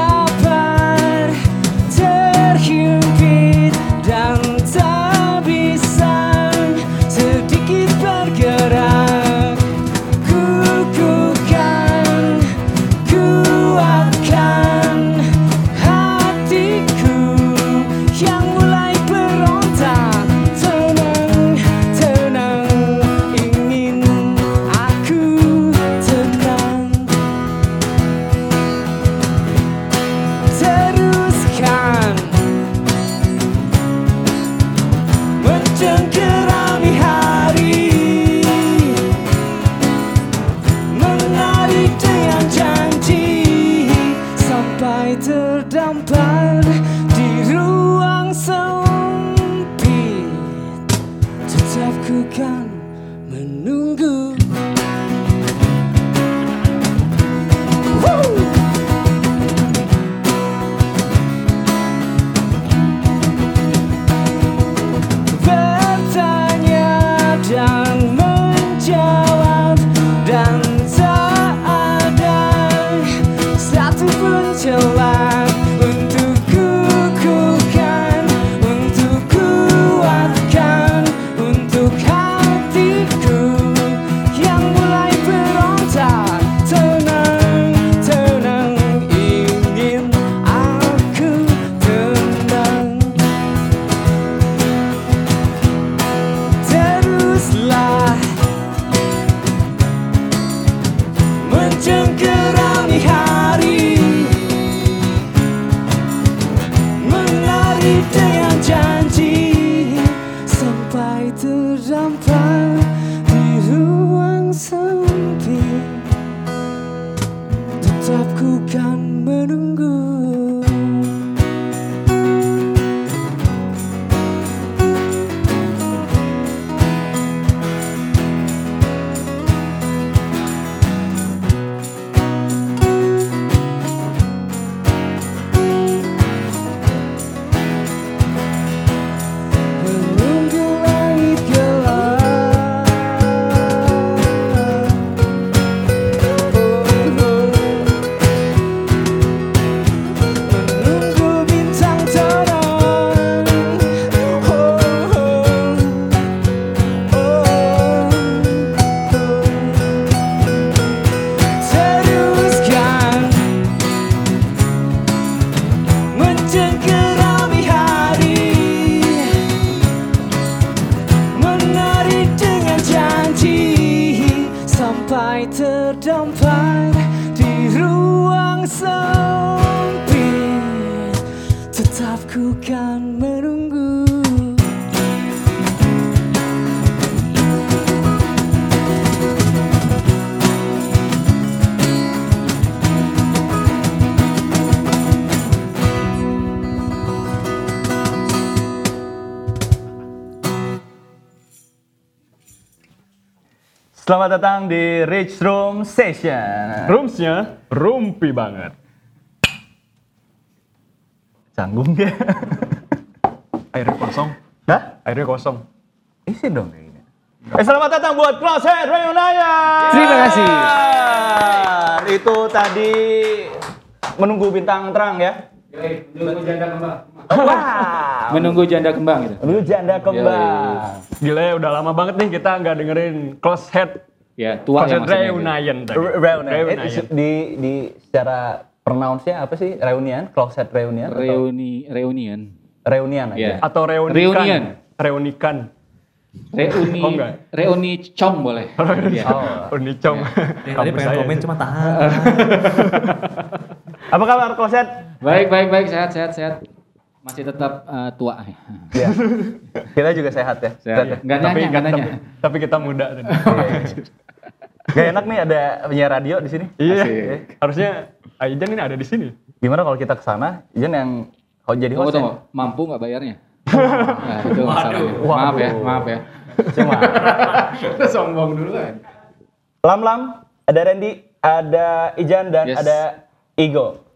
Terkapar, terhimpit dan tak bisa sedikit bergerak. Kukuhkan, kuatkan hatiku yang mulai berontak. Tenang, tenang, ingin aku tenang. teruskan mencengkerami hari menarik dengan janji sampai terdampar di ruang sempit tetap ku kan menunggu Woo! bertanya dan menjawab dan tak ada satu pun celah untuk kukuhkan, untuk kuatkan, untuk hatiku yang mulai berontak tenang, tenang ingin aku tenang. Teruslah mencengkerami hari, menari dengan janji sampai terdampar di ruang sempit. Tetap ku kan menunggu. Menunggu langit gelap Menunggu bintang terang Teruskan Mencengkerami hari Menari dengan janji Sampai terdampar di ruang sempit Tetap ku kan menunggu Selamat datang di Rich Room Session. Roomsnya rumpi banget. Canggung ya? Airnya kosong. Hah? Airnya kosong. Isi dong kayak gini. Eh, selamat datang buat Close Head Reunion. Terima kasih. Itu tadi menunggu bintang terang ya. Wah, menunggu janda kembang gitu. lu janda kembang. Gila ya udah lama banget nih kita nggak dengerin close head Ya, tua ya Concert maksudnya. gitu. reunion tadi. Re- Reunion. Eh, Reunion. di di secara pronounce-nya apa sih? Reunion, closet reunion atau Reuni reunion. reunion aja. Iya. Atau reunikan. Reunion. Reunikan. Reuni Oh, enggak. reuni cong boleh. Iya. Oh. Unicong. Dari tadi pengen komen cuma tahan. Apa kabar closet? Baik, baik, baik, sehat, sehat, sehat. Masih tetap eh, tua. Iya. Kita juga sehat ya. Sehat ya. Sehat. Enggak nanya, enggak nanya. Tapi kita muda tadi. Iya. Gak enak nih ada penyiar radio di sini. Iya. Asik. Harusnya Ah, Ijan ini ada di sini. Gimana kalau kita ke sana, Ijen yang kau jadi Tunggu host tunggu, ya? mampu nggak bayarnya? Nah, itu masalahnya. Maaf ya, maaf ya. Cuma. Sombong dulu kan. Lam Lam, ada Randy, ada Ijan dan Yes. ada Igo.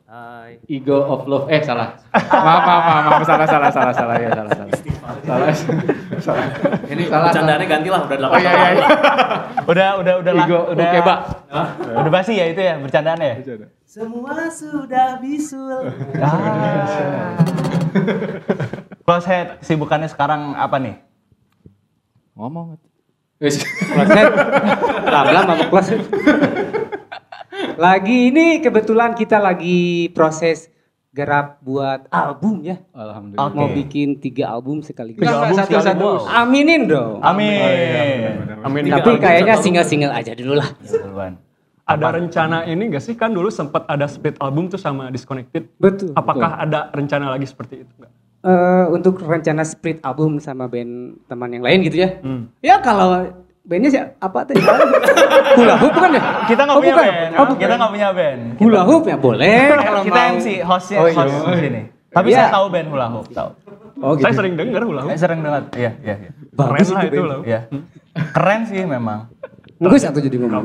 Ego of love, eh salah. Maaf, maaf, maaf, maaf. salah, salah, salah, salah ya, salah, salah. Salah, salah. Ini salah. Bercandaannya gantilah udah salah. Oh 8 iya, tahun. iya, iya. Udah udah udah lah. Igo, udah oke, Pak. Udah basi ya itu ya bercandaannya ya? Semua sudah bisul. Ah. Close head, sibukannya sekarang apa nih? Ngomong. Wis, kelasnya. Tablan sama kelas. Lagi ini kebetulan kita lagi proses garap buat album ya. Alhamdulillah. Oke. Mau bikin tiga album sekaligus. Tiga album satu, sekaligus. satu. Aminin dong. Amin. Oh, iya, Amin. Tapi kayaknya single-single aja dulu lah. Ya, duluan. ada rencana ini gak sih kan dulu sempat ada split album tuh sama Disconnected. Betul. Apakah ada rencana lagi seperti itu nggak? Eh, untuk rencana split album sama band teman yang lain gitu ya. Ya kalau bandnya sih apa tadi? Hula hoop bukan ya? Kita nggak oh, punya bukan. band. ya. Oh, bukan. Kita nggak punya band. Hula hoop ya boleh. kalau Kita mau. MC, hostnya Oh, iya. host di sini. Tapi Iya. saya tahu band Hula Hoop, tahu. Oh gitu. Saya sering dengar ulang. Saya sering dengar. Iya, iya, iya. Keren Bagus lah itu itu band. loh. Iya. Keren sih memang. Bagus satu jadi ngomong.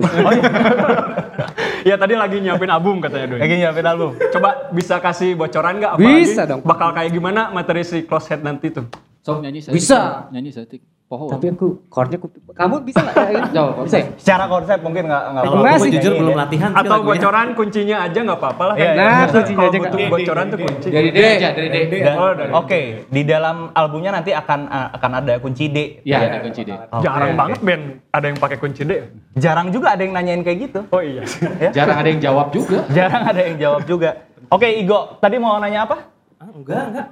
Ya tadi lagi nyiapin album katanya Doi. Lagi nyiapin album. Coba bisa kasih bocoran nggak? Iya. Bisa dong. Bakal kayak gimana materi si close head nanti tuh? Sob nyanyi saya. Bisa. Nyanyi saya. Tik. Poho. Tapi aku chordnya ku- kamu bisa nggak? kayak gitu? Jawab, Bisa. ya? Secara konsep mungkin nggak Kalau nggak Kalau Terima aku kasih. jujur belum latihan sih Atau lagunya. bocoran kuncinya aja nggak apa-apa lah. Iya, iya, kan? Nah, iya. kuncinya Kalau aja butuh nggak- Iya. bocoran tuh kunci. Dari D aja, dari D. Dan- Oh, Iya. Oke, dari- di dalam albumnya nanti akan eh, akan ada kunci D. Iya, ada kunci D. Oke, Jarang Iya. oke. banget band ada yang pakai kunci D. Jarang juga ada yang nanyain kayak gitu. Oh iya. Jarang ada yang jawab juga. Jarang ada yang jawab juga. Oke, Igo, tadi mau nanya apa? Ah, enggak, enggak.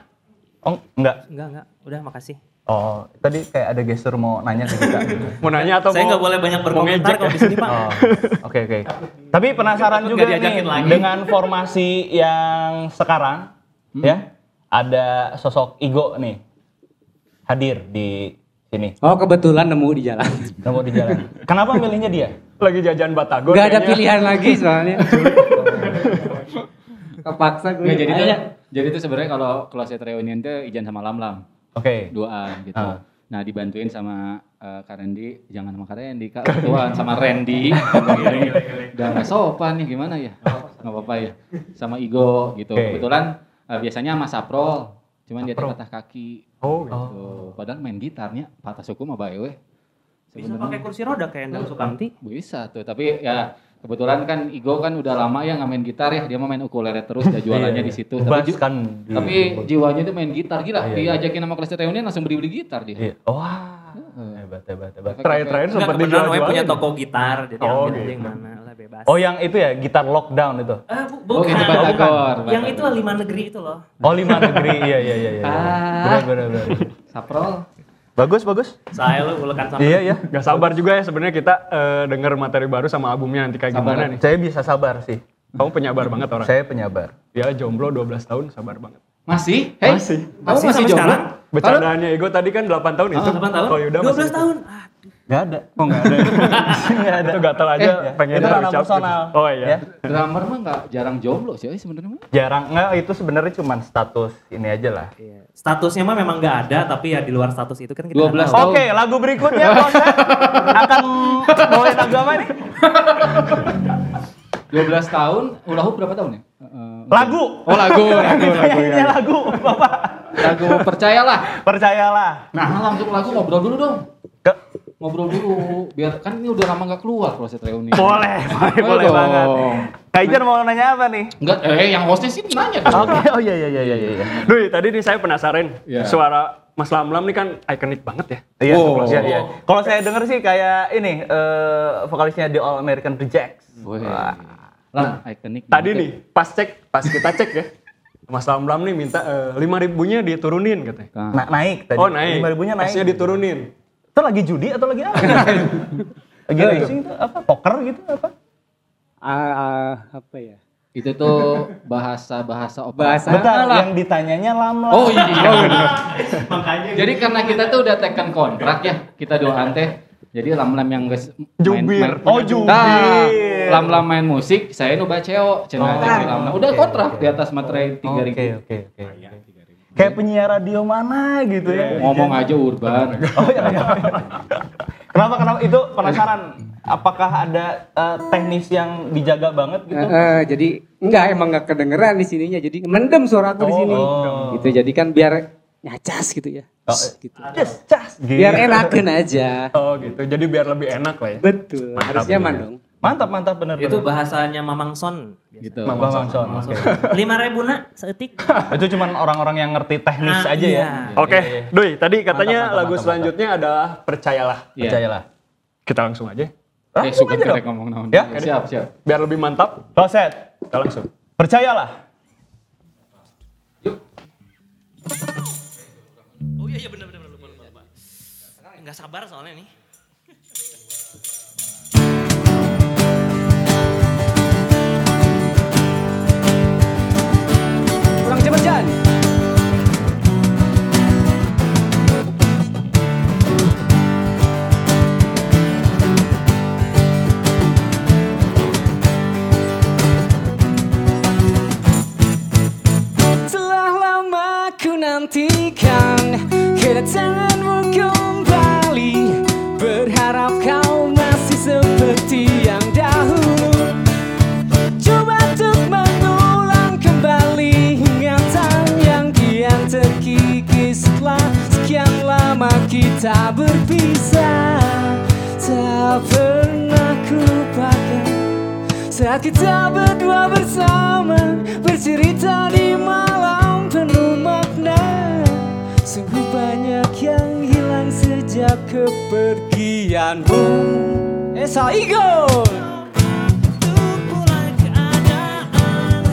Oh, enggak. Enggak, enggak. Udah, makasih. Oh, tadi kayak ada gestur mau nanya ke kita. Mau nanya atau Saya mau enggak boleh banyak mau berkomentar ngejek kalau ya? di sini, Pak. Oh, oke oke. Tapi penasaran Takut juga nggak nih diajakin lagi. dengan formasi yang sekarang, ya ada sosok Igo nih hadir di sini. Oh kebetulan nemu di jalan. Nemu di jalan. Kenapa milihnya dia? Lagi jajan batagor. Gak ada kayaknya. pilihan lagi soalnya. Kepaksa gue. Nggak, jadi itu, nanya. jadi itu sebenarnya kalau close head reunion tuh Ijan sama Lam Lam Oke. duaan gitu. Ah. Nah dibantuin sama eh, Kak Randy, jangan sama Kak Randy, Kak Tuan sama Randy. Gini-gini. Udah nggak sopan nih gimana ya? Nggak apa-apa ya. Sama Igo gitu. Oke. Kebetulan eh, biasanya sama Saprol, cuman dia tuh patah kaki. Oh, iya. Gitu. Padahal main gitarnya patah suku sama Baewe. Bisa pakai kursi roda kayak Endang Sukamti. Bisa tuh, tapi ya kebetulan kan Igo kan udah lama ya nggak main gitar ya, dia mau main ukulele terus dan jualannya di situ. Tapi, Bas ju- kan. di- tapi jiwanya tuh main gitar gila. Iya, Dia ajakin sama kelas reunion langsung beli-beli gitar dia. Iya. Wah. Hebat hebat hebat. Terakhir-terakhir Enggak, sempat kebetulan dijual Oe punya toko gitar. Jadi Oh, ambil gitu. aja yang mana lah, bebas. Oh yang itu ya gitar lockdown itu. Ah, bu- Oh, bukan. itu Batagor, Yang Batagor. itu lima negeri itu loh. Oh lima negeri iya iya iya. iya. Benar benar benar. Saprol. Bagus bagus. Saya lu ulekan sama. Iya iya. Gak sabar juga ya sebenarnya kita eh, denger materi baru sama albumnya nanti kayak Sabar. gimana nih. Saya bisa sabar sih. Kamu penyabar banget orang. Saya penyabar. Dia jomblo 12 tahun sabar banget. Masih? Hey, Masih. Kamu Masih masih sampai jomblo? sekarang? Bercandaannya Ego tadi kan 8 tahun itu. 8 tahun? Oh yaudah 12 masih. tahun. Ah, Gak ada. Oh nggak ada. Gak ada. iya. itu gatel aja Eh, pengen itu ranah terucap gitu. personal. Oh iya. Ya. Drummer mah nggak jarang jomblo sih eh, sebenarnya. mah. Jarang nggak itu sebenarnya cuman status ini aja lah. Iya. Statusnya mah memang nggak ada, tapi ya di luar status itu kan kita 12 nggak tahu. tahun. Oke, lagu berikutnya Bos akan bawain lagu apa nih? 12 tahun, ulahu berapa tahun ya? Eh, eh, Lagu. Oh lagu, lagu, lagu. Kayaknya lagu, iya, Bapak. Lagu percayalah. Percayalah. Nah, langsung lagu ngobrol dulu dong. Ke- Ngobrol dulu, biar kan ini udah lama nggak keluar proses Eh, reuni. boleh, boleh, Boleh boleh dong. banget. Kak Ijen mau nanya apa nih? Enggak, eh yang hostnya sih nanya dong. Oke, oh iya iya iya iya iya. Duh, tadi nih saya penasaran. Iya. Suara Mas Lamlam nih kan ikonik banget ya. Iya, Wow. iya, iya. Kalau saya denger sih kayak ini eh, vokalisnya The All American Rejects. Woi. Wah. Lah, ikonik. Iya. Tadi banget. nih pas cek, pas kita cek ya. Mas Lamlam nih minta eh, lima ribunya diturunin katanya. Nah, Na- Hmm. naik tadi. Oh naik. 5.000-nya naik. Pasnya diturunin. Itu lagi judi atau lagi apa? lagi racing itu apa? Poker gitu apa? Ah, ah, apa ya? itu tuh bahasa-bahasa Bahasa operasi. Bentar, lah. yang ditanyanya lam lah. Oh iya. Jadi karena kita tuh udah tekan kontrak ya, kita doaan teh. Jadi lam-lam yang guys Jubir. Oh, jubir. Nah, lam-lam main musik, saya nu baceo, cenah jadi lam-lam. Udah kontrak di atas materai 3000. Oke, oke, oke. Kayak penyiar radio mana gitu ya. Ngomong aja urban. Oh iya. iya. kenapa kenapa itu penasaran? Apakah ada eh, teknis yang dijaga banget gitu? Eh, eh, jadi enggak emang enggak kedengeran di sininya. Jadi mendem suara aku di Oh, sini. oh. Gitu. Jadi kan biar nyacas gitu ya. Oh, Gitu. Cas, cas. Gitu. Biar enakan aja. Oh gitu. Jadi biar lebih enak lah ya. Betul. Harus nyaman dong. Mantap, mantap bener. Itu bener. bahasanya Mamang Son. gitu. Bang Bang Son. oke. Lima ribu nak seetik. itu cuman orang-orang yang ngerti teknis Ah, aja ya. iya. Oke, Doi, tadi katanya mantap, lagu mantap, selanjutnya adalah Percayalah. Iya. Percayalah. Kita langsung aja. Eh, suka kerek ngomong naon. Ya, siap, siap. Biar lebih mantap, Roset, kita langsung. percayalah. Oh iya iya benar benar lupa lupa lupa. Enggak sabar soalnya nih. Kurang cepet Jan. Telah lama ku nantikan kedatanganmu kembali Berharap kau masih seperti yang dahulu Coba untuk mengulang kembali ingatan yang kian terkikis setelah sekian lama kita berpisah. Tak pernah kupakai saat kita berdua bersama bercerita di malam penuh makna. Sungguh banyak yang hilang sejak kepergianmu. Esa Igor. Untuk mulai keadaan,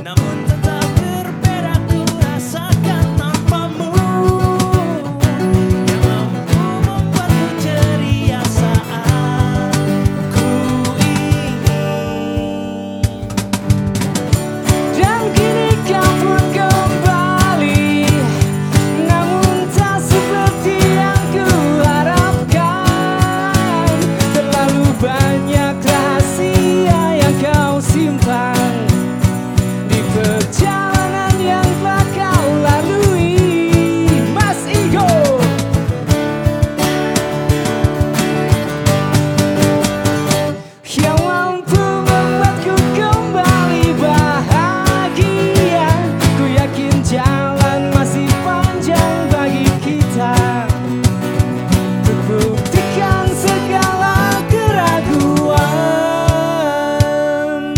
namun tetap berbeda ku rasakan tanpamu. Yang mampu membuatku ceria saat ku ingin. Dan kini kau pun kembali Namun tak seperti yang kuharapkan Terlalu banyak rahasia yang kau simpan Di perjalanan yang telah kau lalui Mas Igo Yang mampu membuatku kembali bahagia Ku yakin jalan masih panjang bagi kita Untuk buktikan segala keraguan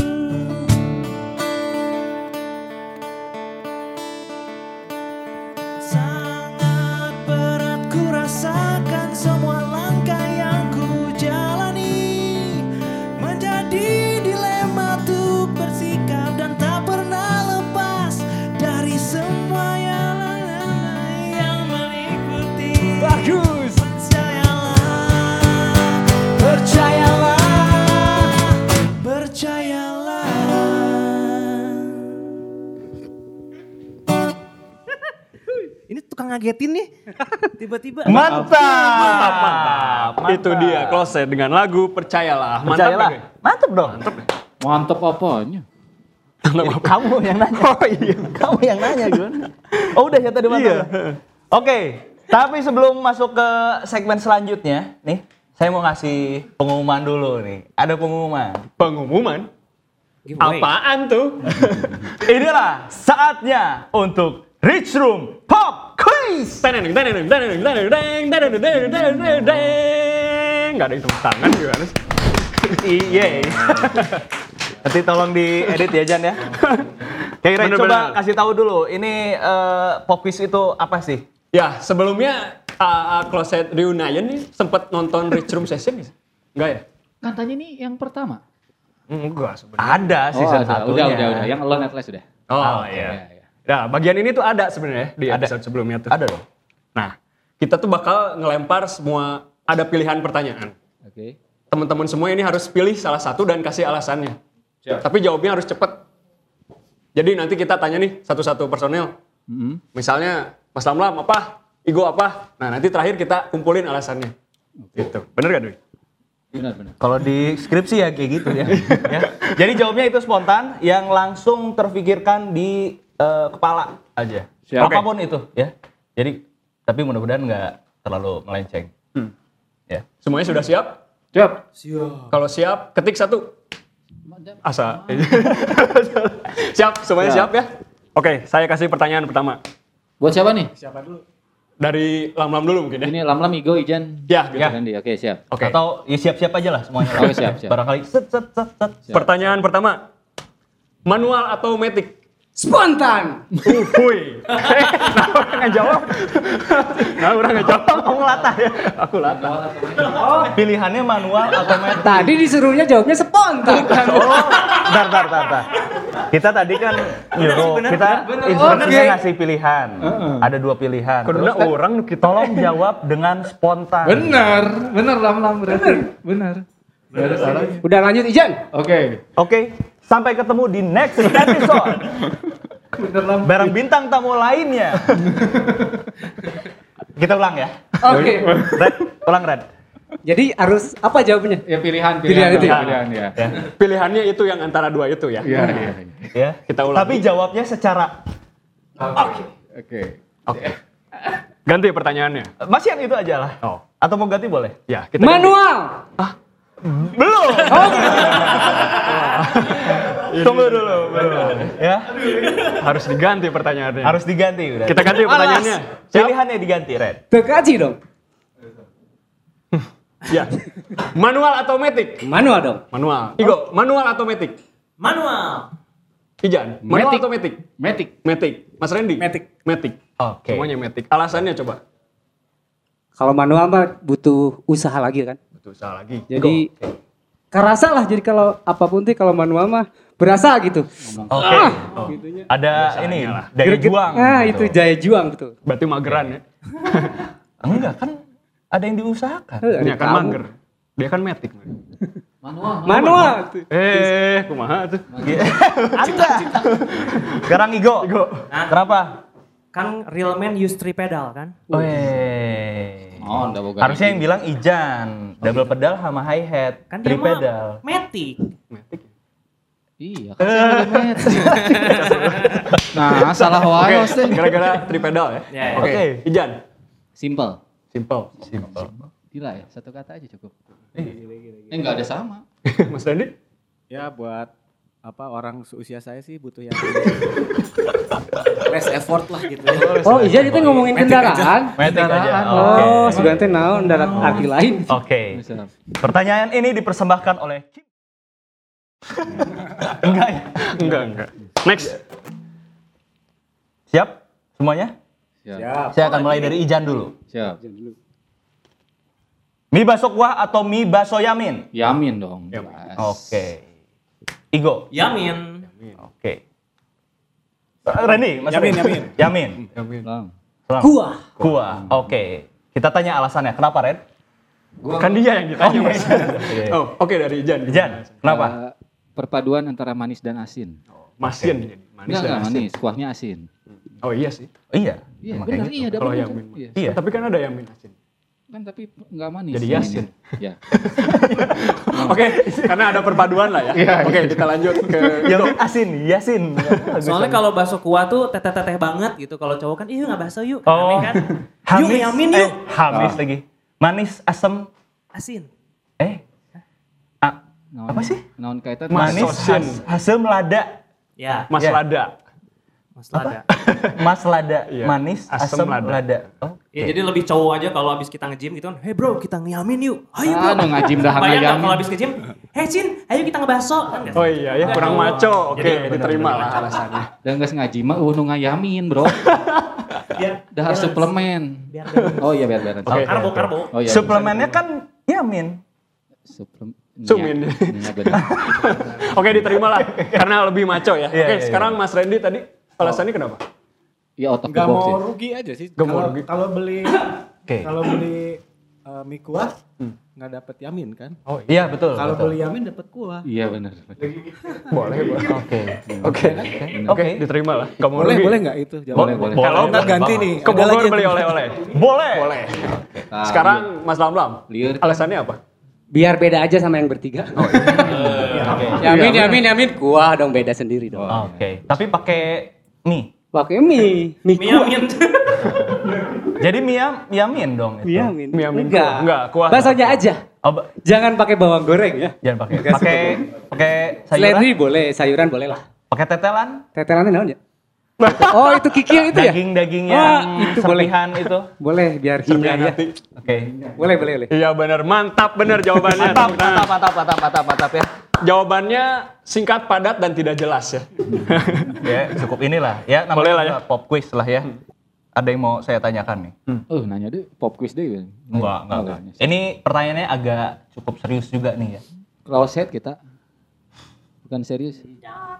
Sangat berat ku rasakan semua langkah yang ku jalani Menjadi dilema tuh bersikap dan tak pernah lepas Dari semua yang, yang mengikuti Bagus Percayalah, Percayalah percayalah Ini tukang ngagetin nih Tiba-tiba Mantap. Mantap, Itu dia closet dengan lagu Percayalah. Mantap Percayalah. ya, Doi? Mantap dong. Iya, Mantep apanya? Kamu yang nanya. Oh iya. Kamu yang nanya, Gun. Oh udah ya tadi mantap. Iya. ya? Oke, tapi sebelum masuk ke segmen selanjutnya, nih saya mau ngasih pengumuman dulu nih. Ada pengumuman. Pengumuman. Apaan tuh? Inilah saatnya untuk Rich Room Pop Quiz. Teneng, teneng, teneng, teneng, teneng, teneng, teneng, teneng, teneng, teneng. Nggak ada yang tepuk tangan gimana sih? Iya. Nanti tolong diedit ya Jan ya. Kira Bener-bener. coba kasih tahu dulu ini eh, pop quiz itu apa sih? Ya, sebelumnya AA Closet Reunion nih sempat nonton Rich Room Session nggak sih? Enggak ya? Kan tanya ini yang pertama. Enggak sebenarnya. Ada Oh, season ada. satunya. udah, udah, udah. Yang Alone Atlas sudah. Oh, iya. Nah, bagian ini tuh ada sebenarnya di Ada. episode sebelumnya tuh. Ada dong. Nah, kita tuh bakal ngelempar semua ada pilihan pertanyaan. Oke. Teman-teman semua ini harus pilih salah satu dan kasih alasannya. Tapi jawabnya harus cepet. Jadi nanti kita tanya nih satu-satu personil. Mm-hmm. Misalnya Mas Lamlam apa? Igo apa? Nah, nanti terakhir kita kumpulin alasannya. Gitu. Bener gak Dwi? Benar, benar. Kalau di skripsi ya kayak gitu ya. ya. Jadi jawabnya itu spontan yang langsung terpikirkan di eh, kepala aja. Siap. Apapun itu ya. Jadi tapi mudah-mudahan nggak terlalu melenceng. Hmm. Ya. Semuanya sudah siap? Siap. Kalau siap, ketik satu. Asa. siap, semuanya siap ya? Oke, saya kasih pertanyaan pertama. Buat siapa nih? Dari lam-lam dulu mungkin ya. Ini Lam-Lam, Igo, Ijan. Ya, gitu. Randy. Oke, siap. Oke. Oh, Atau ya siap-siap aja lah semuanya. Oke, siap, siap. Barangkali set set set set. Siap. Pertanyaan pertama. Manual atau metik? Spontan. Uh, hui. Eh, nah orang nggak jawab. Nah orang nggak jawab. Kamu latah ya. Aku latah. Oh, pilihannya manual atau metik? Tadi disuruhnya jawabnya spontan. Oh, tar, tar, tar, tar. Kita tadi kan nyuruh, kita instruksinya Oke. ngasih pilihan. Ada dua pilihan. Karena orang nu kita Tolong jawab dengan spontan. Benar, benar lam-lam berarti. Benar. Gak ada salahnya. Udah lanjut Ijan. Oke. Oke, sampai ketemu di next episode. Benar lam. Bareng bintang tamu lainnya. Kita ulang ya. Oke. Red, ulang Red. Jadi harus apa jawabnya? Ya pilihan, pilihan, Pilihan itu ya? pilihan, ya. Ya. pilihannya itu yang antara dua itu ya. Iya, iya. ya. Kita ulang. Tapi jawabnya secara Oke. Ganti pertanyaannya. masih yang itu aja lah. Oh. Atau mau ganti boleh? Ya, kita Manual. Belum. Tunggu dulu, belum. Ya, ganti. harus diganti pertanyaannya. harus diganti udah. kita ganti pertanyaannya. Siap? Pilihannya diganti, Red. Tekaji dong. Ya. Manual atau metik? Manual dong. Manual. Igo, manual atau metik? Manual. Ijan, manual Matic. atau metik? Metik. Metik. Mas Randy? Matic. Metik. Oke. Semuanya metik. Alasannya coba. Kalau manual mah butuh usaha lagi kan. Betul, salah lagi. Jadi kerasa lah. Jadi kalau apapun tuh kalau manual mah berasa gitu. Oke. Ada ini dari juang. Ah gitu. itu jaya juang betul. Berarti mageran ya. Enggak kan ada yang diusahakan. Eh, Ini ada kan tamu. mager. Dia kan metik. Manual. Manual. Eh, kumaha tuh. Ada. Sekarang Igo. Igo. Kenapa? Kan real men use three pedal kan? Weh. Oh, enggak boga. Oh, iya. Harusnya yang bilang Ijan, double pedal sama hi hat, Kan tri dia mah pedal. metik. Metik. Iya, kan saya udah metik. Nah, salah Oke, wae hostnya. gara-gara tripedal ya. Ya, ya. Oke, Ijan. Simple. Simple. Simple. Gila ya, satu kata aja cukup. Eh, enggak ada sama. Mas Randy? Ya buat apa orang seusia saya sih butuh yang less effort lah gitu. Oh iya kita ngomongin kendaraan. Metik aja. Oke. Oh, suganti naon darat Oh. arti lain. Oke. Misal. Pertanyaan ini dipersembahkan oleh Kim. Enggak ya? Enggak, enggak. Next. Siap? Semuanya? Siap. Saya akan mulai dari Ijan dulu. Siap. Mie baso kuah atau mie baso yamin? Yamin dong. jelas. Oke. Igo. Yamin. Oke. Reni, Mas Yamin, Yamin. Yamin. Bang. Selang. Kuah. Kuah. Oke. Kita tanya alasannya. Kenapa, Ren? Kan dia yang ditanya, Mas. Oke. Oh, oke dari Ijan. Ijan, kenapa? Eh, perpaduan antara manis dan asin. Masin. Manis dan Enggak, enggak asin. manis, kuahnya asin. Oh iya sih. Iya. Iya, emang benar. kayak gitu. Iya, ada Kalau benar. yamin. Iya. Iya. Tapi kan ada yang min asin. Kan tapi enggak manis. Jadi yamin. asin. Iya. Oke, karena ada perpaduan lah ya. Oke, kita lanjut ke Yamin Ya, asin, yasin. Soalnya kalau bakso kuah tuh teteh-teteh banget gitu. Kalau cowok kan, iya nggak bakso yuk. Oh. Aneh kan? Yuk yamin eh, yuk. hamis lagi. Manis, asem, Asin. eh. A- Naon- Apa sih? Naon kaitan manis, sosin. has- hasil melada. Ya, Mas Ya. Lada. Mas Lada. Mas lada, Iya. manis, asem, Asem, lada. lada. Oh. Ya jadi lebih cowok aja kalau habis kita nge-gym gitu kan. Hey bro, kita ngeyamin yuk. Ayo Ah, bro. Aduh, ngajim dah Bayang nggak ngayamin. kalau habis nge-gym? Hey Cin, ayo kita ngebaso. Kan nggak? Oh iya ya, kurang maco. Oke, diterima lah alasannya. Dan gak ngaji mah uh, nu ngayamin, Bro. iya. Biar, Dahar suplemen. biar, biar, Oh iya, biar biar. Oke. karbo, karbo. Oh iya. Suplemennya kan yamin. suplemen. iya. Sumin. Oke, diterima lah karena lebih maco Iya, ya. Oke, iya, iya. sekarang Mas Randy tadi alasannya kenapa? Iya, otak Gak box ya. mau sih. rugi aja sih. Nggak mau Kalau- rugi. Kalau beli Oke. kalau beli eh, mie kuah Hmm. nggak dapet yamin kan? Oh iya betul. Kalau betul. beli yamin dapet kuah. Iya benar. Boleh, boleh. Oke. Oke. Oke, diterima lah. Gak mau Boleh rugi. boleh nggak itu? Boleh, jawabannya? boleh. Kalau Ntar nggak ganti nih. Ke ada lagi Bogor yang- beli oleh-oleh. Boleh. Boleh. Sekarang Mas Lamlam, Liur. alasannya apa? Biar beda aja sama yang bertiga. Oke. Yamin, yamin, yamin. Kuah dong beda sendiri dong. Oke. Tapi pakai mie. Pakai mie, mie kuah. Miamin. Jadi miam miamin dong itu. Mie yamin. Mie yamin Enggak. Gitu. kuah. Enggak, kuah. Baksonya aja. Oh, ba- Jangan pakai bawang goreng ya. jangan pakai. Pakai pakai sayuran. Seleri boleh, sayuran boleh lah. Pakai tetelan. Tetelannya naon ya? Oh itu kikil itu ya? Wah, Daging-daging yang Hmm, itu boleh. serpihan itu. Boleh biar hina ya. hati. Oke. Boleh, boleh, boleh. Iya benar, mantap benar jawabannya. Mantap, Nah, mantap, mantap, mantap, mantap, mantap ya. Jawabannya singkat, padat dan tidak jelas ya. Ya, cukup inilah ya namanya Boleh lah juga pop quiz lah ya. Ada yang mau saya tanyakan nih? Hmm. Oh nanya deh pop quiz deh. Enggak, enggak, enggak. Ini pertanyaannya agak cukup serius juga nih ya. Close head kita. Bukan serius. Iya,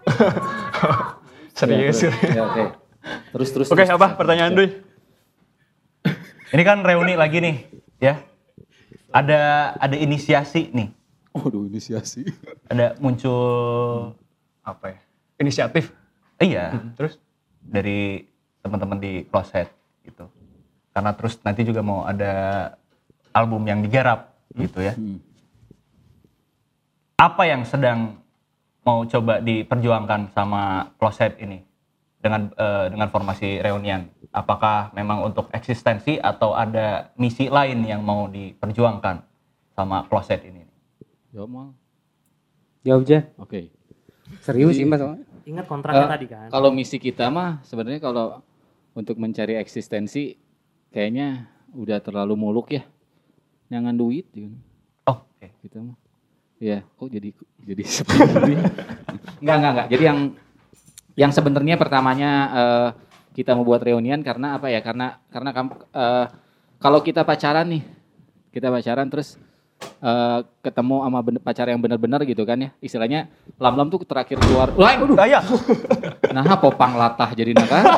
Serius. Ya, oke. Terus terus. Oke, terus. apa pertanyaan Dwi? Ini kan reuni lagi nih, ya. Ada ada inisiasi nih. Waduh inisiasi. Ada muncul apa ya? Inisiatif. Iya, terus dari teman-teman di Closet gitu. Karena terus nanti juga mau ada album yang digarap gitu ya. Apa yang sedang mau coba diperjuangkan sama Closet ini dengan eh, dengan formasi reunian? Apakah memang untuk eksistensi atau ada misi lain yang mau diperjuangkan sama Closet ini? Jawab mal. Jawab aja. Oke. Serius sih mas. Ingat kontraknya Eh, tadi kan. Kalau misi kita mah sebenarnya kalau untuk mencari eksistensi kayaknya udah terlalu muluk ya. Nyangan duit gitu. Oh, oke. Kita Gitu mah. Iya, kok jadi jadi seperti Enggak, enggak, enggak. Jadi yang yang sebenarnya pertamanya eh, kita membuat reunian karena apa ya? Karena karena kam- eh, kalau kita pacaran nih, kita pacaran terus eh, ketemu sama ben- pacar yang benar-benar gitu kan ya. Istilahnya lam-lam tuh terakhir keluar. Wah, Gaya. Nah, popang latah jadi nakal.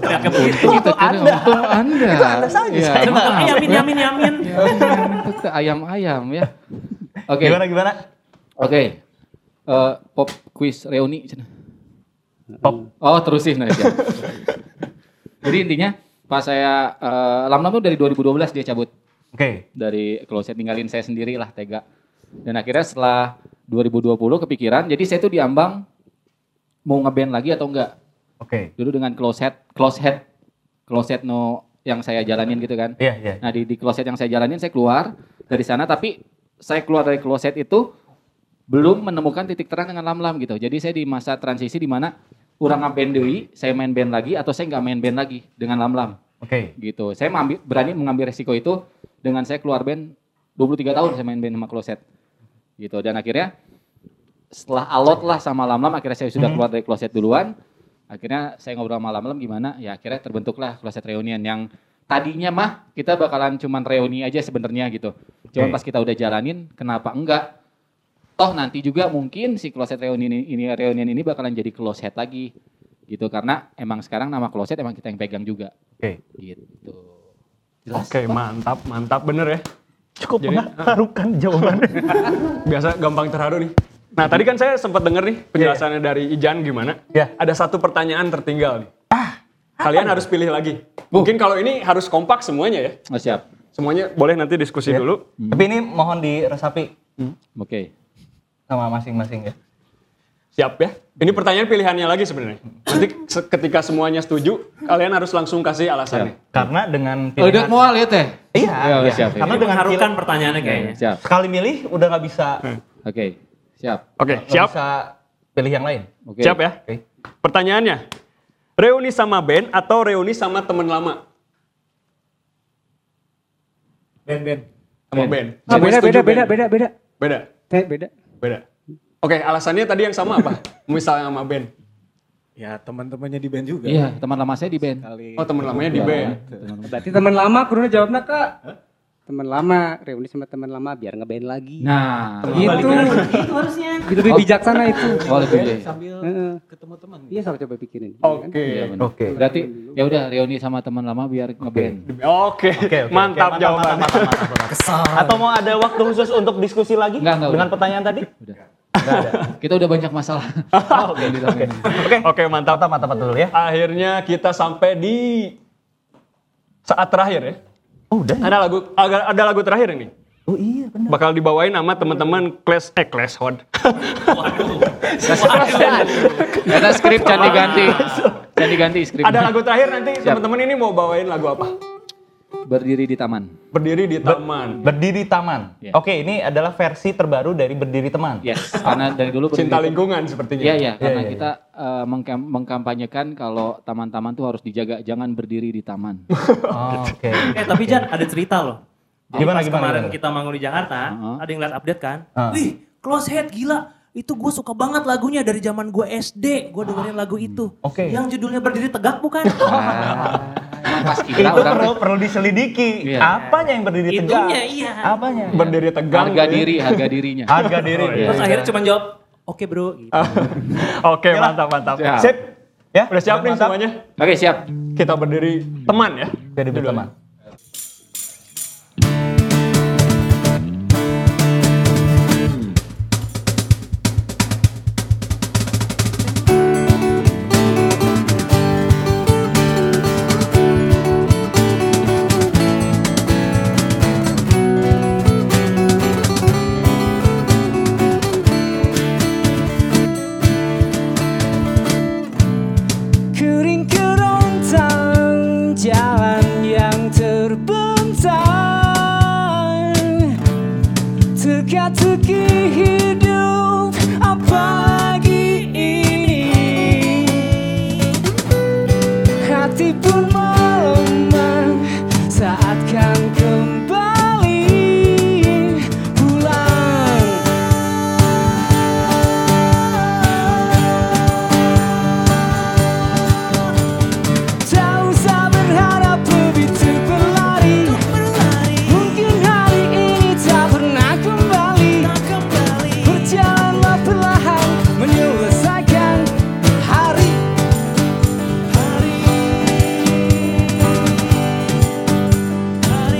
Tidak begitu. itu anda. Untung anda. Itu anda saja. Ya, maaf. Yamin, yamin, yamin. Ayam-ayam, itu ayam-ayam ya. Oke, Gimana gimana? oke. Eh, pop quiz reuni. cenah. Pop. Oh terusin aja. Jadi intinya pas saya eh, Lam-Lam tuh dari 2012 dia cabut Oke. dari kloset ninggalin saya sendiri lah tega. Dan akhirnya setelah 2020 kepikiran, jadi saya tuh diambang mau ngeband lagi atau enggak. Oke. Dulu dengan kloset, kloset, kloset no yang saya jalanin gitu kan. Iya, iya. Nah di, di kloset yang saya jalanin saya keluar dari sana tapi saya keluar dari kloset itu belum menemukan titik terang dengan lam-lam gitu. Jadi saya di masa transisi di mana kurang ngeband deui, saya main band lagi atau saya nggak main band lagi dengan lam-lam Oke. gitu. Saya mengambil- berani mengambil resiko itu dengan saya keluar band 23 tahun saya main band sama kloset gitu dan akhirnya setelah alot lah sama lam-lam akhirnya saya sudah keluar dari kloset duluan akhirnya saya ngobrol sama lam-lam gimana ya akhirnya terbentuklah kloset reunian yang tadinya mah kita bakalan cuman reuni aja sebenarnya gitu Oke. cuman pas kita udah jalanin kenapa enggak toh nanti juga mungkin si kloset reunian ini, ini reunian ini bakalan jadi kloset lagi gitu karena emang sekarang nama kloset emang kita yang pegang juga Oke. gitu Oke, mantap, mantap bener ya. Cukup mengharukan jawabannya. Biasa gampang terharu nih. Nah, tadi kan saya sempat denger nih penjelasannya dari Ijan gimana. Iya. Ah, Ada satu pertanyaan tertinggal nih. Kalian harus pilih lagi. Oh. Mungkin kalau ini harus kompak semuanya ya. oh, siap Semuanya boleh nanti diskusi Iya. dulu. Tapi ini mohon diresapi oke sama masing-masing ya. Siap ya. Ini pertanyaan pilihannya lagi sebenarnya. Nanti se- ketika semuanya setuju, kalian harus langsung kasih Iya. alasannya. Karena dengan udah pilihan, mual ya teh iya, Ya, iya. siap, ya. karena dengan Mengharukan pilihan- pertanyaannya kayaknya. siap sekali milih udah nggak bisa oke siap Oke, nggak Hmm. siap. bisa pilih yang lain. oke Siap ya. Oke. Pertanyaannya, reuni sama band atau reuni sama teman lama? Ben Ben. Sama band. Ah, Semua beda, setuju beda, beda, band. beda, beda. Beda. Teh beda. Beda. Oke, alasannya tadi yang sama apa? Misalnya sama band. Ya teman-temannya di band juga. iya teman lama saya di band Kali Oh, teman lamanya di band. Berarti teman lama kuruna jawabnya kak. teman lama, reuni sama teman lama biar ngeband lagi. Nah, gitu. Iya. Itu harusnya. Gitu lebih bijaksana itu. oh lebih deh. sambil Heeh. ketemu teman. Iya, saya coba pikirin. Oke. Iya, benar. Oke. Berarti ya udah reuni sama teman lama biar ngeband. Oke. Oke, oke, Mantap oke. jawaban. mantap, mantap, mantap. Atau mau ada waktu khusus untuk diskusi lagi Enggak, enggak, dengan udah. pertanyaan tadi? Oh, Udah. Enggak ada. Kita udah banyak masalah. Yang ditangani. Oke. Oke, mantap. Mata mata dulu ya. Akhirnya kita sampai di saat terakhir ya. Oh, udah. Ada lagu agak ada lagu terakhir ini. Oh iya, benar. Bakal dibawain nama teman-teman Clash eh Clash Hod. Karena skrip jangan diganti. Jangan diganti skrip. ada lagu terakhir nanti teman-teman ini mau bawain lagu apa? Berdiri di taman. Berdiri di taman. Berdiri Taman. Iya. Oke, ini adalah versi terbaru dari Berdiri Teman. Yes, karena dari dulu berdiri Cinta di lingkungan sepertinya. Iya iya, karena iya, kita eh, mengkam- mengkampanyekan kalau taman-taman tuh harus dijaga, jangan berdiri di taman. Oh, Oke. Eh tapi Jan ada cerita loh. Jadi Gimana, pas gimana, kemarin gimana? kita manggung di Jakarta, Heeh. ada yang lihat update kan? Heeh. Wih, Close Head gila. Itu gue suka banget lagunya dari zaman gue SD. Gue dengerin lagu itu. Oke. Yang judulnya Berdiri Tegak bukan? Emang pas kita Itu orang perlu tuh perlu diselidiki. Iya. Apanya yang berdiri tegak? Itunya iya. Apanya? Berdiri tegang. gitu harga ya. diri, harga dirinya. Iya. Harga diri. Terus akhirnya cuma jawab, oke bro. Gitu. Oke, mantap mantap. Siap. Sip. Ya, Udah siap nih Iya mantap? semuanya? Oke, siap. Kita berdiri teman ya. Berdiri Judulnya. Teman. Kering kerontang jalan yang terbentang Teka-teki hidup apalagi ini Hati pun melemah saat kan kembali pulang Tak usah berharap lebih untuk berlari Mungkin hari ini tak pernah kembali Berjalanlah perlahan menyelesaikan hari Hari Oh, Oh,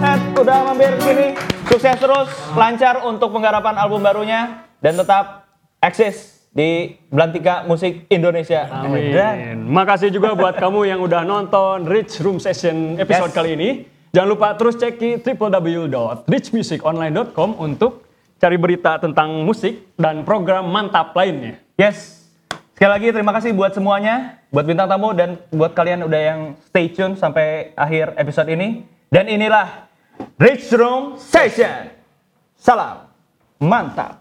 sini. Sukses terus, lancar untuk penggarapan album barunya dan tetap eksis di Belantika Musik Indonesia. Amin. Makasih juga buat kamu yang udah nonton Rich Room Session episode Yes. kali ini. Jangan lupa terus ceki www.richmusiconline.com untuk cari berita tentang musik dan program mantap lainnya. Yes. Sekali lagi terima kasih buat semuanya, buat bintang tamu dan buat kalian udah yang stay tune sampai akhir episode ini. Dan inilah Rich Room Session. Salam. Mantap.